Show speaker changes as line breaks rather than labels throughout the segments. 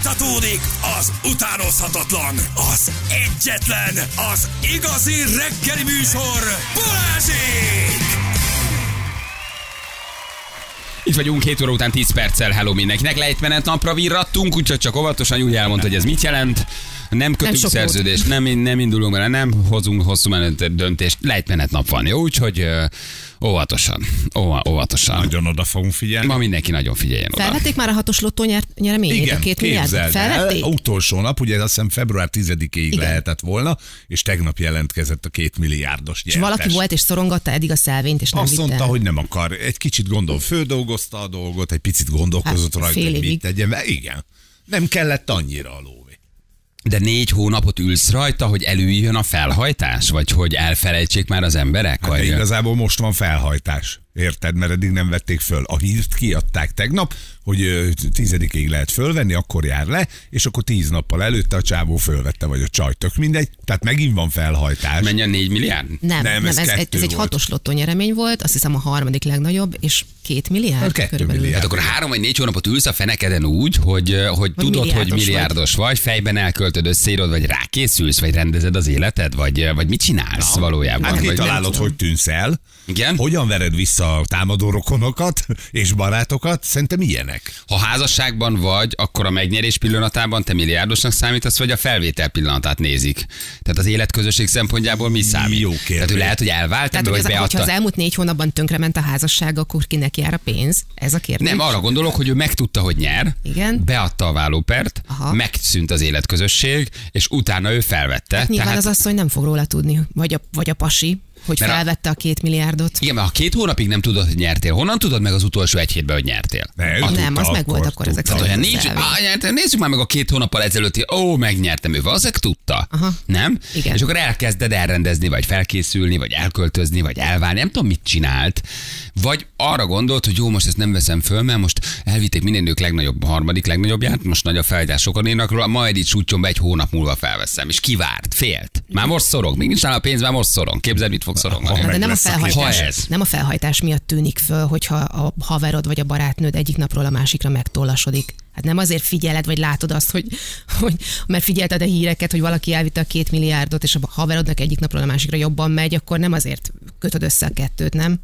Fújtatódik az utánozhatatlan, az egyetlen, az igazi reggeli műsor, Balázsék!
Itt vagyunk 7 óra után 10 perccel, hello mindenkinek. Lejtmenet napra virrattunk, úgyhogy csak óvatosan úgy elmondta, hogy ez mit jelent. Nem kötünk
sok
nem szerződést, nem, nem indulunk bele, nem hozunk hosszú menet döntést. Lejtmenet nap van, jó? Úgyhogy ö, óvatosan, óva, óvatosan.
Nagyon oda fogunk figyelni.
Ma mindenki nagyon figyeljen oda.
Felvették már a hatos lottó nyer- nyereményét, a két milliárd?
képzeld el.
Felvették?
A Utolsó nap, ugye azt hiszem február 10-ig
Igen.
lehetett volna, és tegnap jelentkezett a két milliárdos
És
nyertes.
valaki volt és szorongatta eddig a szelvényt, és nem
Azt
vitte el.
mondta, hogy nem akar. Egy kicsit gondol, földolgozta a dolgot, egy picit gondolkozott
Hát,
rajta,
fél
hogy
évig.
mit tegyen. Mert igen, nem kellett annyira a lóvé.
De négy hónapot ülsz rajta, hogy előjön a felhajtás? Vagy hogy elfelejtsék már az emberek?
Hát
vagy...
de igazából most van felhajtás. Érted, mert eddig nem vették föl. A hírt kiadták tegnap, hogy ö, tizedikig lehet fölvenni, akkor jár le, és akkor tíz nappal előtte a csávó fölvette, vagy a csaj, tök mindegy. Tehát megint van felhajtás.
Menj a 4 milliárd?
Nem,
Nem,
nem,
ez
ez, ez, egy-
kettő
ez egy
volt.
hatos lottó nyeremény volt, azt hiszem a harmadik legnagyobb, és két milliárd
Hát kettő
körülbelül.
milliárd.
Hát akkor három vagy négy hónapot ülsz a fenekeden úgy, hogy, hogy tudod, hogy
milliárdos
milliárdos vagy. fejben elköltöd, összeírod, vagy rákészülsz, vagy rendezed az életed, vagy, vagy mit csinálsz Na, valójában?
Hát
vagy
kitalálod, hogy tűnsz el,
Igen.
hogyan vered vissza a támadó rokonokat és barátokat, szerintem ilyenek.
Ha házasságban vagy, akkor a megnyerés pillanatában te milliárdosnak számítasz, vagy a felvétel pillanatát nézik. Tehát az életközösség szempontjából mi számít?
Jó kérdés.
Tehát ő lehet, hogy elvált,
Tehát,
ebből,
hogy
vagy
az, hogyha
beadta.
az elmúlt négy hónapban tönkrement a házasság, akkor kinek jár a pénz? Ez a kérdés.
Nem, arra gondolok, hogy ő megtudta, hogy nyer,
Igen.
beadta a vállópert,
Aha.
megszűnt az életközösség, és utána ő felvette.
Hát Nyilván
tehát
az asszony nem fog róla tudni, vagy a, vagy a pasi, hogy
Mert a-
felvette a két milliárdot.
Igen, mert ha két hónapig nem tudod, hogy nyertél, honnan tudod meg az utolsó egy hétben, hogy nyertél?
Ne, ő
nem,
tudta
az meg volt akkor ezek
tudta.
Tehát,
szerint.
hogyha nincs,
Felvétel.
á, nyertem, nézzük már meg a két hónappal ezelőtti, ó, megnyertem ő, valószínűleg tudta,
Aha.
nem?
Igen.
És akkor elkezded elrendezni, vagy felkészülni, vagy elköltözni, vagy elválni, nem tudom, mit csinált. Vagy arra gondolt, hogy jó, most ezt nem veszem föl, mert most elvitték minden nők legnagyobb, a harmadik legnagyobbját, most nagy a felhajtás, sokan írnak róla, majd így sútyom be, egy hónap múlva felveszem. És kivárt, félt. Már most szorong, még nincs nála pénz, már most szorong. Képzeld, mit fog szorongani.
Na, de nem a,
lesz a
kép. Ha
felhajtás,
ez.
nem a felhajtás miatt tűnik föl, hogyha a haverod vagy a barátnőd egyik napról a másikra megtollasodik. Hát nem azért figyeled, vagy látod azt, hogy, hogy mert figyelted a híreket, hogy valaki elvitte a két milliárdot, és a haverodnak egyik napról a másikra jobban megy, akkor nem azért kötöd össze a kettőt, nem?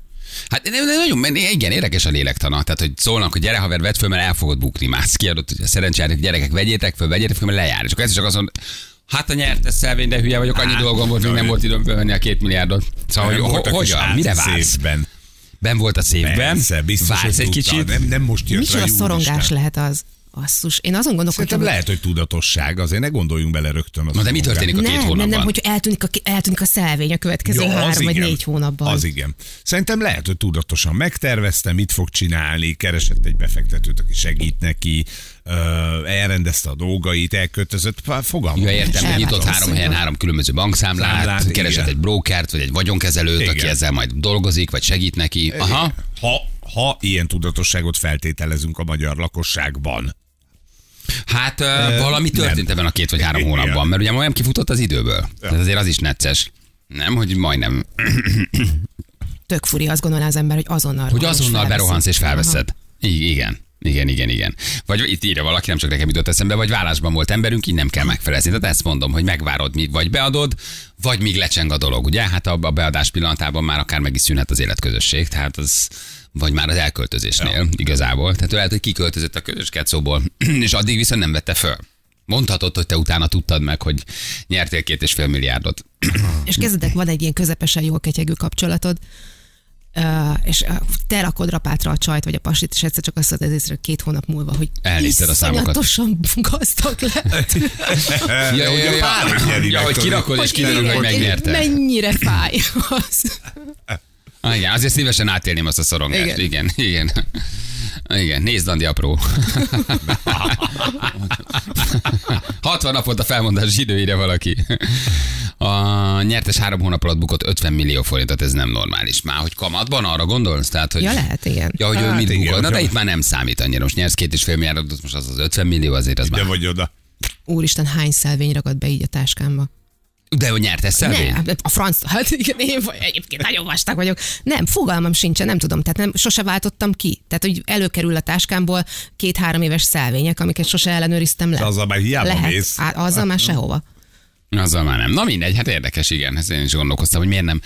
Hát de de nagyon, men- igen, érdekes a lélektana. Tehát, hogy szólnak, hogy gyere haver, vedd föl, mert el fogod bukni. Mász kiadott, hogy a szerencsájátok gyerekek, vegyétek föl, vegyétek föl, mert lejár. És akkor ez csak azon, Hát a nyertes szelvény, de hülye vagyok, annyi dolgom volt, még nem volt időm fölvenni a két milliárdot. Szóval,
Hát, Nem
hogy ho-
voltak is
hogyan, mire
átszi
vársz?
székben.
Ben volt a székben,
Persze, biztos,
vársz
hogy
egy
tudta.
kicsit.
Nem, nem most jött rá,
Micsoda
jó
szorongás
Isten.
lehet az? Asszus, én azon gondolkodom,
Szerintem lehet, hogy tudatosság, azért ne gondoljunk bele rögtön.
Na, de mi történik a
nem,
két
nem,
hónapban?
nem, nem, hogy eltűnik a, eltűnik a szelvény a következő ja, három vagy négy hónapban.
Az igen. Szerintem lehet, hogy tudatosan megtervezte, mit fog csinálni, keresett egy befektetőt, aki segít neki, ö, elrendezte a dolgait, elköltözött, pá, fogalmam.
Ja, értem, hogy
Elvállalsz,
nyitott három helyen
igen.
három különböző bankszámlát,
Számlát,
keresett
igen.
egy brókert, vagy egy vagyonkezelőt, aki
Igen.
ezzel majd dolgozik, vagy segít neki. Aha.
Ha, ha ilyen tudatosságot feltételezünk a magyar lakosságban.
Hát ö, valami történt ebben a két vagy három
Igen.
hónapban, mert ugye majdnem kifutott az időből. Tehát azért az is necces. Nem, hogy majdnem.
Tök furi, azt gondolná az ember, hogy azonnal
Hogy
rohansz,
azonnal
felveszed.
berohansz és
Aha.
felveszed. I- igen. Igen, igen, igen. Vagy itt írja valaki, nem csak nekem jutott eszembe, vagy vállásban volt emberünk, így nem kell megfelezni. Tehát ezt mondom, hogy megvárod, míg vagy beadod, vagy míg lecseng a dolog, ugye? Hát a a beadás pillanatában már akár meg is szűnhet az életközösség, tehát az vagy már az elköltözésnél ja. igazából. Tehát ő lehet, hogy kiköltözött a közös kecóból, és addig viszont nem vette föl. Mondhatod, hogy te utána tudtad meg, hogy nyertél két és fél milliárdot.
és kezdetek van egy ilyen közepesen jól ketyegő kapcsolatod, ö, és ö, te rakod rapátra a csajt vagy a pasit, és egyszer csak azt mondod észre két hónap múlva, hogy
Elnézted a számokat.
iszonyatosan gazdag lett.
Ja, ja, ja, ja,
nyeri
ja
meg
hogy
tudod.
kirakod és kiderül, hogy
írod,
megnyerte.
Mennyire fáj az.
Ah, igen, azért szívesen átélném azt a szorongást. Igen, igen. igen. Igen, nézd, Andi apró. 60 napot a felmondás időire valaki. A nyertes három hónap alatt bukott 50 millió forintot, ez nem normális. Már hogy kamatban arra gondolsz? Tehát, hogy...
Ja, lehet, igen.
Ja, hogy hát, ő
Hát
mit
igen,
bukott. Na, de
hogy-
itt már nem számít annyira. Most nyersz két és fél milliárdot, most az az 50 millió, azért az
De
már...
vagy oda.
Úristen, hány szelvény ragad be így a táskámba?
De hogy nyert ezt
Nem, a franc, hát igen, én vagy, egyébként nagyon vastag vagyok. Nem, fogalmam sincsen, nem tudom, tehát nem, sose váltottam ki. Tehát, hogy előkerül a táskámból két-három éves szelvények, amiket sose ellenőriztem le.
De azzal már hiába
Lehet,
mész.
Á,
Hát,
azzal már sehova.
Azzal már nem. Na mindegy, hát érdekes, igen. Ezt én is gondolkoztam, hogy miért nem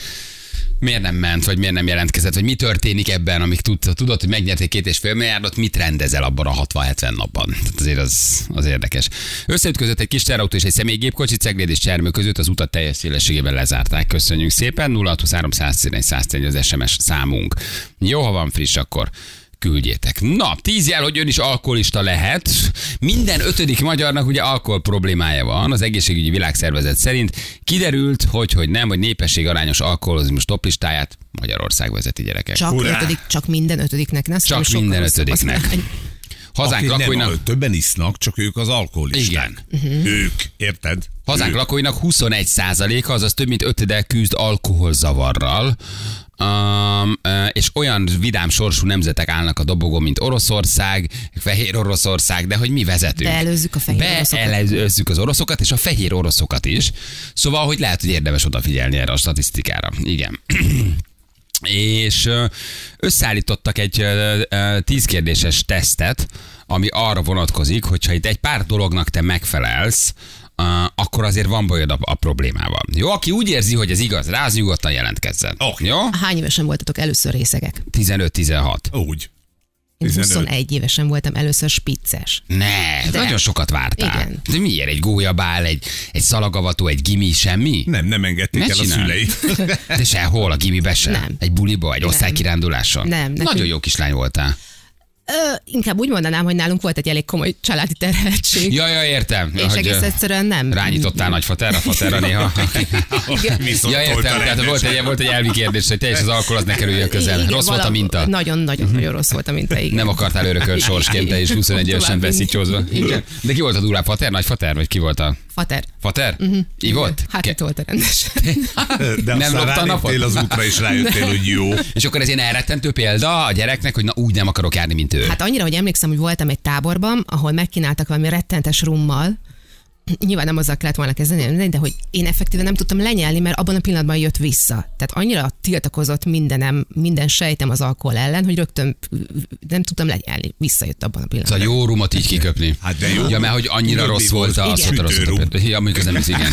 miért nem ment, vagy miért nem jelentkezett, vagy mi történik ebben, amik tud, tudod, hogy megnyerték két és fél milliárdot, mit rendezel abban a 60-70 napban. Tehát azért az, az érdekes. Összeütközött egy kis terautó és egy személygépkocsi, Cegléd és Csermő között az utat teljes szélességében lezárták. Köszönjük szépen. 0623 111 111 az SMS számunk. Jó, ha van friss, akkor küldjétek. Na, tíz jel, hogy ön is alkoholista lehet. Minden ötödik magyarnak ugye alkohol problémája van. Az egészségügyi világszervezet szerint kiderült, hogy, hogy nem, hogy népesség arányos alkoholizmus toplistáját Magyarország vezeti gyerekek.
Csak,
Hurrá!
ötödik, csak minden ötödiknek. Ne, azt
Csak
sokkal
minden
rosszabb az
ötödiknek.
arány.
Hazánk
Akik nem,
lakóinak...
a- többen isznak, csak ők az alkoholisták.
Igen.
Ők, érted?
Hazánk
Ők.
lakóinak 21%-a, azaz több mint ötödel küzd alkoholzavarral, um, ö, és olyan vidám sorsú nemzetek állnak a dobogón, mint Oroszország, Fehér Oroszország, de hogy mi vezetünk.
Beelőzzük a fehér oroszokat.
Beelőzzük az oroszokat, és a fehér oroszokat is. Szóval, hogy lehet, hogy érdemes odafigyelni erre a statisztikára. Igen. és ö, összeállítottak egy ö, ö, tíz kérdéses tesztet, ami arra vonatkozik, hogyha itt egy pár dolognak te megfelelsz, ö, akkor azért van bajod a, a problémával. Jó, aki úgy érzi, hogy ez igaz, rá az nyugodtan jelentkezzen.
Ok.
Jó?
Hány évesen voltatok először részegek?
15-16.
Úgy.
Én
15.
21 évesen voltam először spicces.
Ne, De.
De.
nagyon sokat vártál.
Igen.
De miért? Egy gólyabál, egy, egy szalagavató, egy gimi, semmi?
Nem, nem engedték
Ne
el
csinálj.
a szülei.
De sehol, a gimibe sem.
Nem.
Egy buliba, egy osztálykiránduláson.
Nem, nekünk-
Nagyon jó kislány voltál.
Ö, inkább úgy mondanám, hogy nálunk volt egy elég komoly családi terheltség.
Ja, hát, ja, értem.
és egész egyszerűen nem.
Rányítottál nagyfaterra, faterra néha.
Viszont
ja, értem,
tolta
tehát
rendesen.
volt egy, volt egy elvi kérdés, hogy te és az alkohol az ne kerüljön közel.
Igen,
Rossz volt a
vala-
minta. Mhm.
Nagyon-nagyon nagyon rossz volt a minta, igen.
Nem akartál örökölt sorsként, te is 21 évesen
Tovább
veszítyózva. Igen. De ki volt a durább fater, nagy fater, vagy ki volt a
Fater.
fater? Ivott?
Hát
Ke-
itt volt a rendesen.
De
nem
aztán
lopta a napot?
ráléptél az útra, és rájöttél, hogy jó.
És akkor ez ilyen elrettentő példa a gyereknek, hogy na úgy nem akarok járni, mint ő.
Hát annyira, hogy emlékszem, hogy voltam egy táborban, ahol megkínáltak valami rettentes rummal, nyilván nem azzal kellett volna kezdeni, de hogy én effektíve nem tudtam lenyelni, mert abban a pillanatban jött vissza. Tehát annyira tiltakozott mindenem, minden sejtem az alkohol ellen, hogy rögtön nem tudtam lenyelni. Visszajött abban
Ez
a
a
pillanatban.
Szóval jó rumot így kiköpni.
Hát de jó.
Ja, mert hogy annyira
Tudod,
rossz
mi
volt
volt?
az,
Igen.
hogy rossz
Sütőrum.
volt. a- Ja, mondjuk az nem is, igen.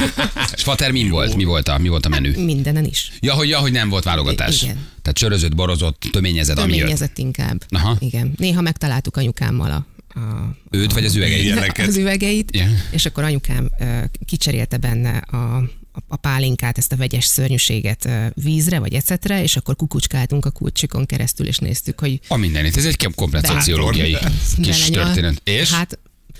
És Fater, mi volt? Mi volt a, mi volt a menü?
Mindenen is.
Ja, hogy, ja, hogy nem volt válogatás.
Igen.
Tehát csörözött, borozott, töményezett, ami jött.
Töményezett inkább.
Aha.
Igen. Néha megtaláltuk anyukámmal a, a
Őt vagy az üvegeit.
Ilyeneket.
az üvegeit,
Ja.
és akkor anyukám ö, kicserélte benne a, a- a pálinkát, ezt a vegyes szörnyűséget ö, vízre vagy ecetre, és akkor kukucskáltunk a kulcsikon keresztül, és néztük, hogy
A mindenit. Ez egy komplet
Bátor.
szociológiai kis
belenyal.
történet. És?
Hát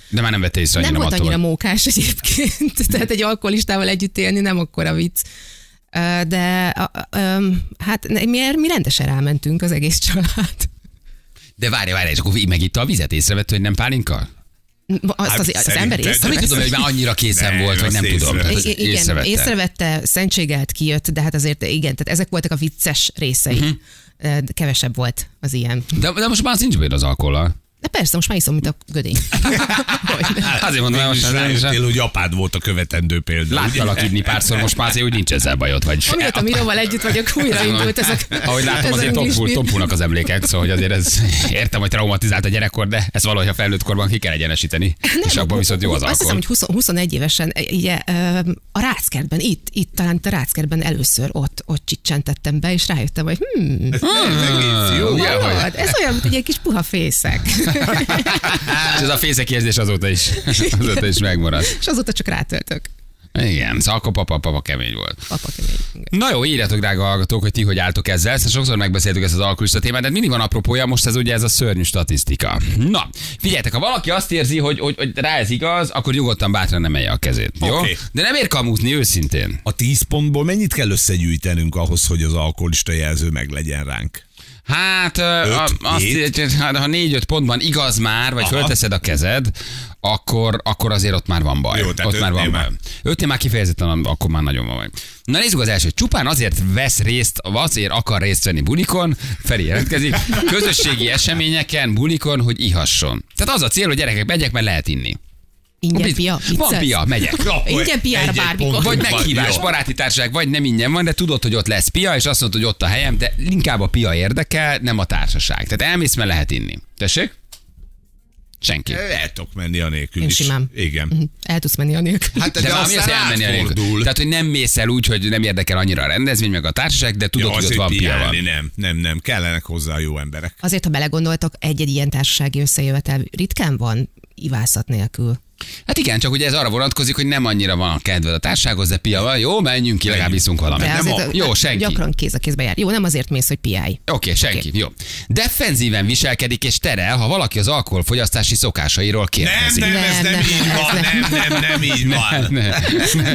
De már nem vette észre
nem
annyira
volt
attól,
annyira
hogy-
mókás egyébként, tehát egy alkoholistával együtt élni nem akkora vicc. Ö, De a, a, öm, hát ne- mi, mi rendesen rámentünk az egész család.
De várj, várj, és akkor megitta a vizet, észrevette, hogy nem pálinka?
Azt
Hát
az, az ember
szerinted?
Hát mit
észreveszi.
tudom, hogy már annyira készen
Nem,
volt, vagy
azt
nem tudom.
észrevette.
Tehát, Hát, hogy
I- igen, észrevette. észrevette, szentségelt kijött, de hát azért igen, tehát ezek voltak a vicces részei.
Mhm.
Uh-huh. Kevesebb volt az ilyen.
De, de most már nincs bőr az alkohollal.
De persze, most már iszom, mint a gödény. Hogyne.
Azért mondom,
Végül
hogy most
is
már nem is.
rájöttél, hogy apád volt a követendő példa.
Láttalak inni párszor, most már azért úgy nincs ezzel bajod. Vagy
Amióta a Miróval együtt vagyok, újraindult ez a...
Ahogy látom,
ez a
azért
English
tompul,
Beat.
tompulnak az emlékek, szóval hogy azért ez, értem, hogy traumatizált a gyerekkor, de ez valahogy a felnőtt korban ki kell egyenesíteni. és abban viszont jó az
Azt hiszem,
alkohol.
hogy 20, 21 évesen e, ugye, ö, a ráckertben, itt, itt talán itt a ráckertben először ott, ott csicsentettem be, és rájöttem, hogy hmm,
egész jó.
Ugye, hogy-
hallod? ez olyan, mint egy ilyen kis puha fészek.
És ez a fészek érzés azóta is, azóta is megmaradt.
és azóta csak rátöltök.
Igen, szóval akkor papa, papa kemény volt.
Apa kemény.
Na jó, írjátok, drága hallgatók, hogy ti hogy álltok ezzel. Ezt sokszor megbeszéltük ezt az alkoholista témát, de hát mindig van apropója, most ez ugye ez a szörnyű statisztika. Na, figyeljetek, ha valaki azt érzi, hogy, hogy, hogy rá ez igaz, akkor nyugodtan bátran emelje a kezét. Jó?
Oké.
De nem ér kamuzni őszintén.
A tíz pontból mennyit kell összegyűjtenünk ahhoz, hogy az alkoholista jelző meglegyen ránk?
Hát, ö, a, azt,
hét?
hogy hát, ha négy-öt pontban igaz már, vagy
Aha.
fölteszed a kezed, akkor, akkor azért ott már van baj.
Jó, tehát
ott már van
ötnél
baj.
már.
Ötnél már kifejezetten, akkor már nagyon van baj. Na nézzük az első. Csupán azért vesz részt, azért akar részt venni bulikon, Feri jelentkezik, közösségi eseményeken, bulikon, hogy ihasson. Tehát az a cél, hogy gyerekek, megyek, mert lehet inni.
Ingyen pia?
Van pia, megyek.
Na,
Ingyen piára
egy-egy
bármikor.
pont.
Vagy
Van
meghívás,
pia.
baráti társaság, vagy nem ingyen van, de tudod, hogy ott lesz pia, és azt mondod, hogy ott a helyem, de inkább a pia érdekel, nem a társaság. Tehát elmész, mert lehet inni. Tessék? Senki.
El tudok menni anélkül
Én
is.
simán. Mhm.
Igen.
El tudsz menni anélkül.
Hát
De, de valami az elmenni anélkül. Tehát, hogy nem mész el úgy, hogy nem érdekel annyira a rendezvény, meg a társaság, de tudod,
Tudod,
hogy ott
hogy
van pia.
piálni,
Van.
nem, nem, nem. Kellenek hozzá a jó emberek.
Azért, ha belegondoltok, egy-egy ilyen társasági összejövetel ritkán van ivászat nélkül.
Hát igen, csak ugye ez arra vonatkozik, hogy nem annyira van a kedved a társághoz, de pia van, jó, menjünk ki, legalább iszunk valamit.
De
Nem
azért,
a- Jó, senki. Oké,
Gyakran kéz a kézbe jár. Jó, nem azért mész, hogy piálj.
okay, senki, jó. Defenzíven viselkedik és terel, ha valaki az alkoholfogyasztási szokásairól
Nem,
kérdezik.
nem,
Nem,
ez nem,
nem,
így
ez
van.
nem.
Nem, nem, nem így van.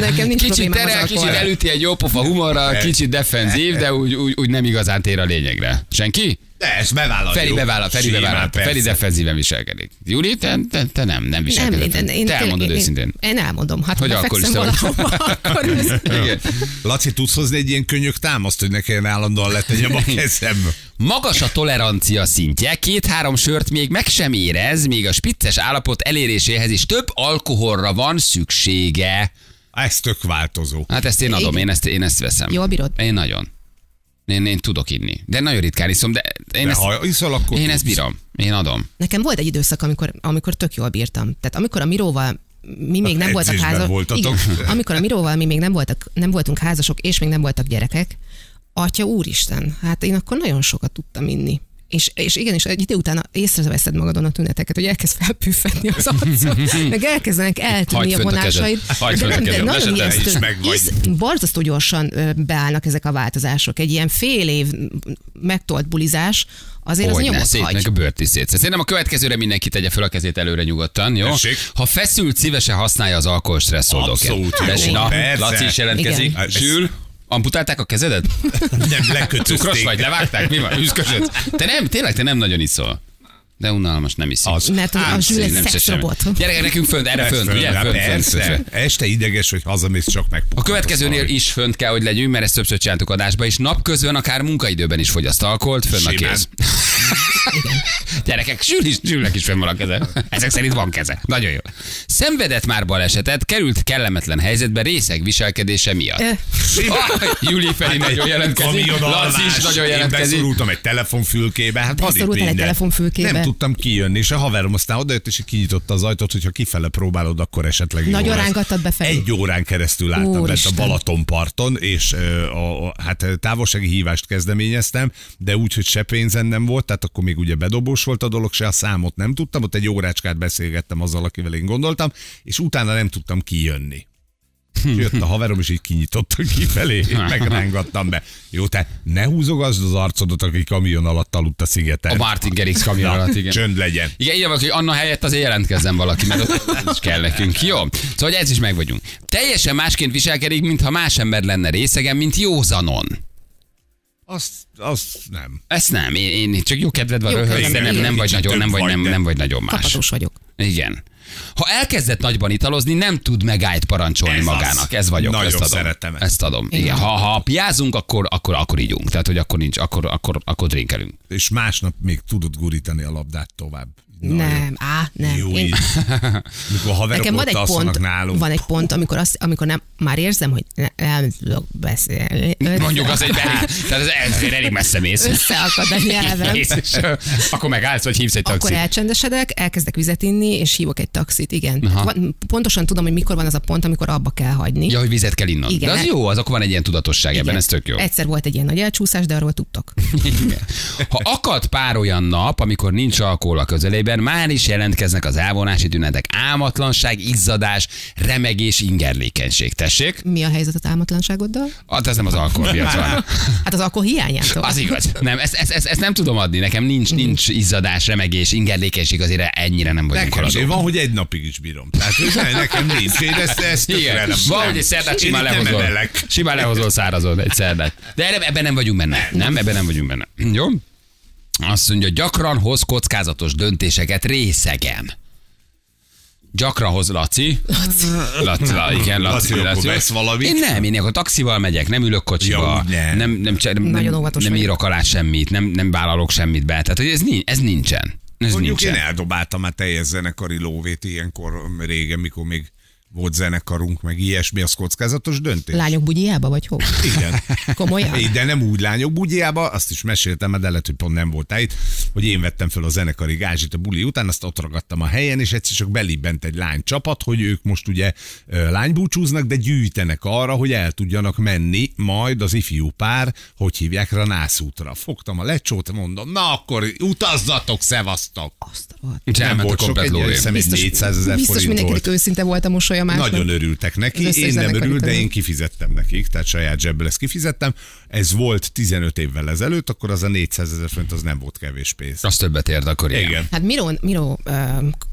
Nekem nincs
Kicsit
problémám
terel,
az
kicsit
alkoholra.
elüti egy jópofa humorral, kicsit defenzív, de úgy, úgy, úgy nem igazán tér a lényegre. Senki?
De ezt bevállaljuk.
Feri bevállal, Feri
Simán,
bevállal,
persze.
Feri defenzíven viselkedik. Júli, te, te, te nem, nem
Nem,
viselkedett.
én, én,
te elmondod
én,
őszintén.
Én, én elmondom, hát
Hogy
hogy
akkor
akkor
is te vagy.
valahova, akkor ez-
Igen.
Laci, tudsz hozni egy ilyen könyök támaszt, hogy ne kelljen állandóan letegyem a kezem?
Magas a tolerancia szintje, két-három sört még meg sem érez, még a spicces állapot eléréséhez is több alkoholra van szüksége.
Ez tök változó.
Hát ezt én adom,
Igen.
én ezt, én ezt veszem.
Jól bírod?
Én nagyon. Én, én tudok inni. De nagyon ritkán iszom, de én,
De
ezt,
ha iszol, akkor
én
tudsz.
ezt bírom. Én adom.
Nekem volt egy időszak, amikor, amikor tök jól bírtam. Tehát amikor a Miróval mi még nem voltak
Edzésben
házasok.
voltatok.
amikor a Miróval mi még nem, voltak, nem voltunk házasok, és még nem voltak gyerekek, atya úristen, hát én akkor nagyon sokat tudtam inni. És, és igenis, egy idő után észreveszed magadon a tüneteket, hogy elkezd felpüffedni az arcod, meg elkezdenek
Hagyd
eltűnni a
fönt a kezed.
vonásaid.
Hagyd fönt a kezed. Ne se
te is meg vagy.
borzasztó gyorsan ö, beállnak ezek a változások. Egy ilyen fél év megtolt bulizás, azért az
Hogy ne,
nyomot
szét,
hagy.
meg a bőrt is szét. Szerintem a következőre mindenki tegye fel a kezét előre nyugodtan, jó?
Tessék.
Ha feszült, szívesen használja az alkohol stresszoldóként.
Abszolút jó.
Tessék, Na,
Persze.
Laci is jelentkezik.
Igen.
Zsül, amputálták a kezedet?
Nem lekötözték.
Cukros vagy, levágták? Mi van? Üszkösöd? Te nem, tényleg te nem nagyon iszol. De unalmas, nem iszik.
Az.
Mert a- a
Ám,
Zsül egy
nem se
szexrobot.
semmi. Gyerek, nekünk fönt, erre fönt,
Föl,
ugye?
hát
Fönt, fönt,
persze.
fönt, fönt.
Este ideges, hogy hazamész, csak meg.
A következőnél is fönt kell, hogy legyünk, mert ezt többször csináltuk adásba, és napközben akár munkaidőben is fogyaszt alkoholt, fönn a
Simán.
kéz. Gyerekek, sül is, sülnek is fönn van a keze. Ezek szerint van keze. Nagyon jó. Szenvedett már balesetet, került kellemetlen helyzetbe részeg viselkedése miatt.
Ö,
Ah, Juli Feri nagyon jelentkezik, Laci is nagyon
Hát, Én
jelentkezik.
beszorultam egy telefonfülkébe. Hát van itt
Beszorultál egy
minden.
telefonfülkébe?
Nem tudtam kijönni, és a haverom aztán odajött, és így kinyitotta az ajtót, hogyha kifele próbálod, akkor esetleg jó
Nagyon
lesz.
rángattad befelé?
Egy órán keresztül álltam bent a
Úristen.
Balatonparton, és ö, a, a, hát ö, távolsági hívást kezdeményeztem, de úgy, hogy se pénzem nem volt, tehát akkor még ugye bedobós volt a dolog, se a számot nem tudtam, ott egy órácskát beszélgettem azzal, akivel én gondoltam, és utána nem tudtam kijönni.
Hm.
És jött a haverom, és így kinyitottam kifelé, és megrángattam be. Jó, te ne húzogasd az arcodat, aki kamion alatt aludt a szigeten.
A Martin Gerix kamion
Na,
alatt, igen.
Csönd legyen.
Igen, így van, hogy Anna helyett azért jelentkezzen valaki, mert ott is kell nekünk. Jó, szóval hogy ez is meg vagyunk. Teljesen másként viselkedik, mintha más ember lenne részegen, mint józanon.
Azt, azt nem.
Ezt nem, én, én csak jó kedved van,
Jó
röhögsz,
kedved
de
van,
nem,
igen.
nem vagy
Kicsit
nagyon, nem
több
vagy,
vagy,
nem,
de-
nem vagy nagyon más.
Kapatós vagyok.
Igen. Ha elkezdett nagyban italozni, nem tud megállt parancsolni
Ez az.
magának. Ez vagyok.
Nagyon
ezt adom.
szeretem ezt.
Ezt adom. Igen.
Igen.
Ha, ha piázunk, akkor, akkor, akkor ígyunk. Tehát, hogy akkor nincs, akkor, akkor, akkor drinkelünk.
És másnap még tudod gurítani a labdát tovább. Na, jó.
Nem, á, nem.
Jó,
Én,
így. Mikor a haverok
nekem van
ott
egy
alszanak
pont,
nálunk.
van egy pont, amikor, azt, amikor nem, már érzem, hogy ne- nem tudok beszélni. Össze-
Mondjuk az egy elég, tehát ez, ez elég messze mész.
Összeakad a nyelvem.
Mész, és, ö, akkor megállsz, vagy hívsz egy
Akkor
taxit.
elcsendesedek, elkezdek vizet inni, és hívok egy taxit, igen.
Aha.
Van, pontosan tudom, hogy mikor van az a pont, amikor abba kell hagyni.
Ja, hogy vizet kell innod.
Igen.
De az jó, az akkor van egy ilyen tudatosság
Igen.
ebben, ez tök jó.
Egyszer volt egy ilyen nagy elcsúszás, de arról tudtok.
Igen. Ha akad pár olyan nap, amikor nincs alkohol a közelében, már is jelentkeznek az elvonási tünetek. Álmatlanság, izzadás, remegés, ingerlékenység. Tessék?
Mi a helyzet az álmatlanságoddal?
Hát ez nem az alkohol miatt van.
Hát az alkohol hiányától.
Az igaz. Nem, ezt, ezt, ezt, ezt nem tudom adni. Nekem nincs, nincs izzadás, remegés, ingerlékenység, azért ennyire nem vagyunk
Nekem
haladók.
sem. Van, hogy egy napig is bírom. Tehát ez ne, nekem nincs. Én ezt, ezt tökre
Igen,
nem.
van,
nem.
hogy egy szerdát
Én
simán
itt nem
lehozol.
emelek.
Simán lehozol szárazon egy szerdát. De erre- ebben nem vagyunk benne. Nem, ebben nem vagyunk benne. Jó? Azt mondja, gyakran hoz kockázatos döntéseket részegen. Gyakran hoz Laci. Laci. Laci, igen, Laci.
Laci, akkor vesz valamit?
Én nem, én akkor taxival megyek, nem ülök
Ja,
kocsiba,
úgy ne.
nem, nem, cse- nem,
Nagyon
nem,
óvatos
nem
vagyok.
írok alá semmit, nem, nem vállalok semmit be. Tehát, hogy ez, nincs, ez nincsen. Ez
Mondjuk
nincsen.
én eldobáltam már teljes zenekari lóvét ilyenkor um, régen, mikor még volt zenekarunk, meg ilyesmi, az kockázatos döntés.
Lányok bugyjába, vagy hol?
Igen.
Komolyan?
É, De nem úgy lányok bugyjába, azt is meséltem, mert de lehet, hogy pont nem voltál itt, hogy én vettem fel a zenekari gázsit a buli után, azt ott ragadtam a helyen, és egyszer csak belibbent egy lány csapat, hogy ők most ugye ö, lánybúcsúznak, de gyűjtenek arra, hogy el tudjanak menni majd az ifjú pár, hogy hívják rá nászútra. Fogtam a lecsót, mondom, na akkor utazzatok, szevasztok!
Azt a rohadt.
És elment a
volt sok,
komplet
egy ilyen
lóvé.
szem, egy 400 ezer
biztos
forint volt.
mindenkinek őszinte volt a mosolya másnak.
Nagyon örültek neki,
Az összes
én nem
zenekari
örül, de
tagnak.
én kifizettem nekik, tehát saját zsebből ezt kifizettem. Ez volt 15 évvel ezelőtt, akkor az a 400 ezer forint az nem volt kevés pénz.
Az többet érd akkor igen.
Igen.
Hát Miró, Miró ö,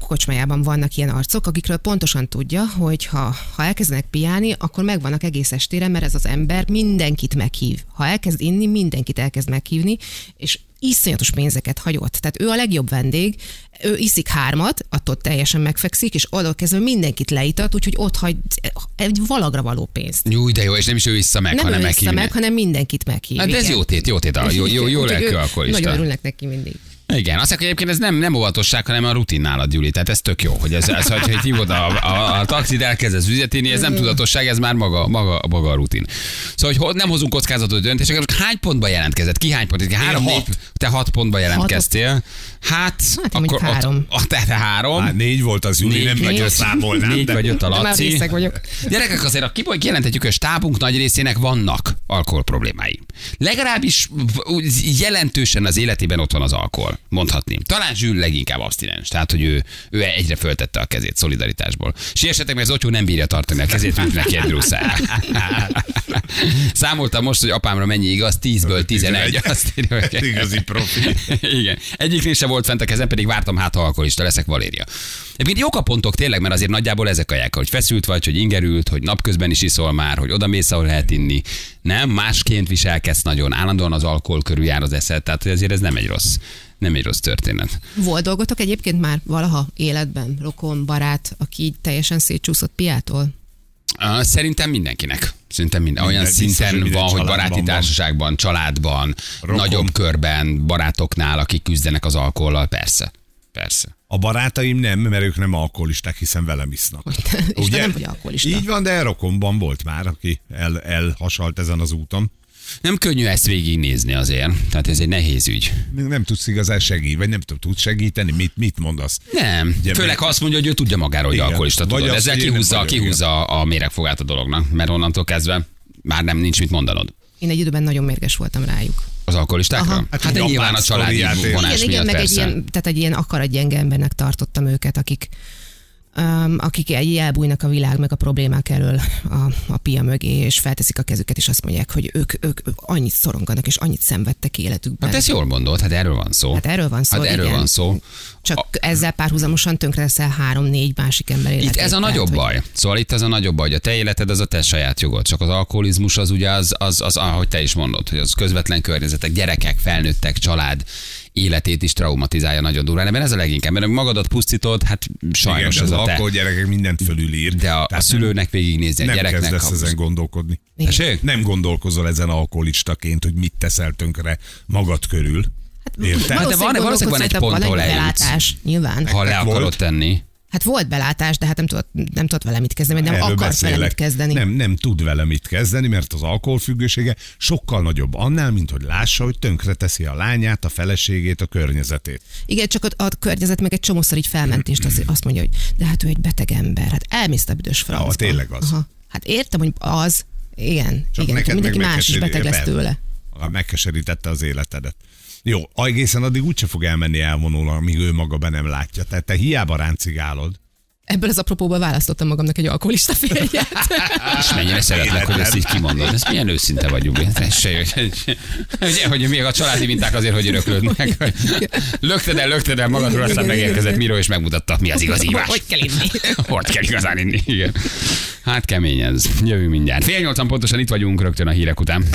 kocsmájában vannak ilyen arcok, akikről pontosan tudja, hogy ha, ha elkezdenek piálni, akkor megvannak egész estére, mert ez az ember mindenkit meghív. Ha elkezd inni, mindenkit elkezd meghívni, és iszonyatos pénzeket hagyott. Tehát ő a legjobb vendég, ő iszik hármat, attól teljesen megfekszik, és oda kezdve mindenkit leítat, úgyhogy ott hagy egy valagra való pénzt.
Jó, de jó, és nem is ő vissza meg,
Nem
hanem
ő vissza
meghívni.
meg, hanem mindenkit meghív.
Hát de ez
igen.
jó tét, jó tét, a jó, jó, jó
Úgyhogy
lelkű
ő- Nagyon
alkoholista.
örülnek neki mindig.
Igen, azt mondják, hogy egyébként ez nem, nem óvatosság, hanem a rutin nálad, Gyuri. Tehát ez tök jó, hogy ez, ez hogy, hogy hívod a, a, a taxit, elkezdesz üzleténi, ez nem tudatosság, ez már maga, maga, maga a rutin. Szóval, hogy ho- nem hozunk kockázatot döntéseket, most hány pontba jelentkezett? Ki hány pont? Három, négy,
hat.
te hat pontba jelentkeztél. Hát,
Hát, mondjuk
akkor
három.
Ott, a, te, te három.
Hát négy volt az Júli,
Négy,
nem
négy.
nagyon számolnám.
Négy
de-
vagy öt a
Már
Laci.
részeg vagyok.
Gyerekek, azért a kiboly jelenthetjük, hogy a stábunk nagy részének vannak alkohol problémái. Legalábbis v- úgy jelentősen az életében ott van az alkohol, mondhatni. Talán Zsül leginkább abstinens, tehát hogy ő, ő egyre föltette a kezét szolidaritásból. Siessetek, mert az otyó nem bírja tartani a kezét, mint neki egy drusza. Számoltam most, hogy apámra mennyi igaz, 10-ből 11. Azt írja, hogy-
Hát Igazi profi.
igen. Egyiknél se volt fent a kezem, pedig vártam, hát ha alkoholista leszek, Valéria. Egyébként jók a pontok tényleg, mert azért nagyjából ezek a jelek, hogy feszült vagy, hogy ingerült, hogy napközben is iszol már, hogy oda mész, ahol lehet inni. Nem, másként viselkedsz nagyon, állandóan az alkohol körül jár az eszed, tehát hogy azért ez nem egy rossz, nem egy rossz történet.
Volt dolgotok egyébként már valaha életben, rokon, barát, aki így teljesen szétcsúszott piától?
Á, Szerintem mindenkinek. Szerintem minden. Olyan
Minden, biztos,
szinten
hogy minden
van, hogy
családban van.
baráti társaságban, családban,
Rokon.
nagyobb körben, barátoknál, akik küzdenek az alkohollal, persze. Persze.
A barátaim nem, mert ők nem alkoholisták, hiszen velem isznak.
Hogy te, és te nem vagy alkoholista.
Így van, de rokomban volt már, aki el, elhasalt ezen az úton.
Nem könnyű ezt végignézni azért, tehát ez egy nehéz ügy.
Még nem tudsz igazán segíteni, vagy nem tudom, tudsz segíteni, mit, mit mondasz?
Nem,
Ugye,
főleg
még-
ha azt mondja, hogy ő tudja magáról, hogy
Igen.
alkoholista,
Vagy
tudod.
azt,
Ezzel
hogy én nem
kihúzza,
vagyok,
kihúzza a méregfogát a dolognak, mert onnantól kezdve már nem nincs mit mondanod.
Én egy időben nagyon mérges voltam rájuk.
Az alkoholistákra?
Aha.
Hát
Hát, hát
japán
nyilván a családi
sztoriát él.
vonás
igen, igen,
miatt
meg egy
persze.
ilyen, tehát egy ilyen akaratgyenge embernek tartottam őket, akik Um, akik egy elbújnak a világ meg a problémák elől a, a pia mögé, és felteszik a kezüket, és azt mondják, hogy ők, ők, ők annyit szoronganak, és annyit szenvedtek életükben.
Hát ezt jól mondod, hát erről van szó.
Hát erről van szó,
Hát erről
igen.
van szó.
Csak
A-
a... ezzel párhuzamosan tönkreteszel három-négy másik ember életét.
Itt ez a
Tehát,
nagyobb
hogy-
baj. Szóval itt ez a nagyobb baj, hogy a te életed az a te saját jogod. Csak az alkoholizmus az ugye az, az, az ahogy te is mondod, hogy az közvetlen környezetek, gyerekek, felnőttek, család életét is traumatizálja nagyon durván. Ebben ez a leginkább, mert magadat pusztítod, hát sajnos
Igen,
ez
de
a
az
te.
alkohol gyerekek mindent fölülír.
De a, a
Tehát
szülőnek végignézni, a
nem
gyereknek.
kezdesz
a-
ezen gondolkodni.
Igen.
Tessék?
Nem gondolkozol ezen alkoholistaként, hogy mit teszel tönkre magad körül. Érted?
Hát de van-
Valószínűleg
valószínűleg van egy pont,
gondolkodsz, hogy
ahol
egy
eljutsz.
belátás, nyilván.
ha le
Nektek
akarod
volt?
tenni.
Hát volt belátás, de hát nem tudott, nem tudott vele mit kezdeni, vagy nem
Erről
akart vele mit
beszélek.
kezdeni.
Nem, nem tud vele mit kezdeni, mert az alkoholfüggősége sokkal nagyobb annál, mint hogy lássa, hogy tönkre teszi a lányát, a feleségét, a környezetét.
Igen, csak a, a környezet meg egy csomószor így felmentést azt, azt mondja, hogy de hát ő egy beteg ember, hát elmész a büdös francba.
tényleg az.
Aha. Hát értem, hogy az, igen,
Csak
igen,
neked
csak mindenki
meg
más is beteg lesz
megkeserít-
tőle.
Ha Megkeserítette az életedet. Jó, egészen addig úgyse fog elmenni elvonulni, amíg ő maga be nem látja. Tehát te hiába ráncigálod.
Ebből az apropóból választottam magamnak egy alkoholista férjet.
És mennyire szeretlek, hogy ezt így kimondod. Ez milyen őszinte vagyunk. Ez se jó. Ugye, hogy még a családi minták azért, hogy öröklődnek. Lökted el, lökted el magadról, aztán
Igen,
megérkezett
igen.
Miro, és megmutatta, mi az igazi ívás.
Hogy kell inni.
Hogy kell igazán inni, igen. Hát kemény ez. Jövő mindjárt. Fél nyolcan pontosan itt vagyunk, rögtön a hírek után.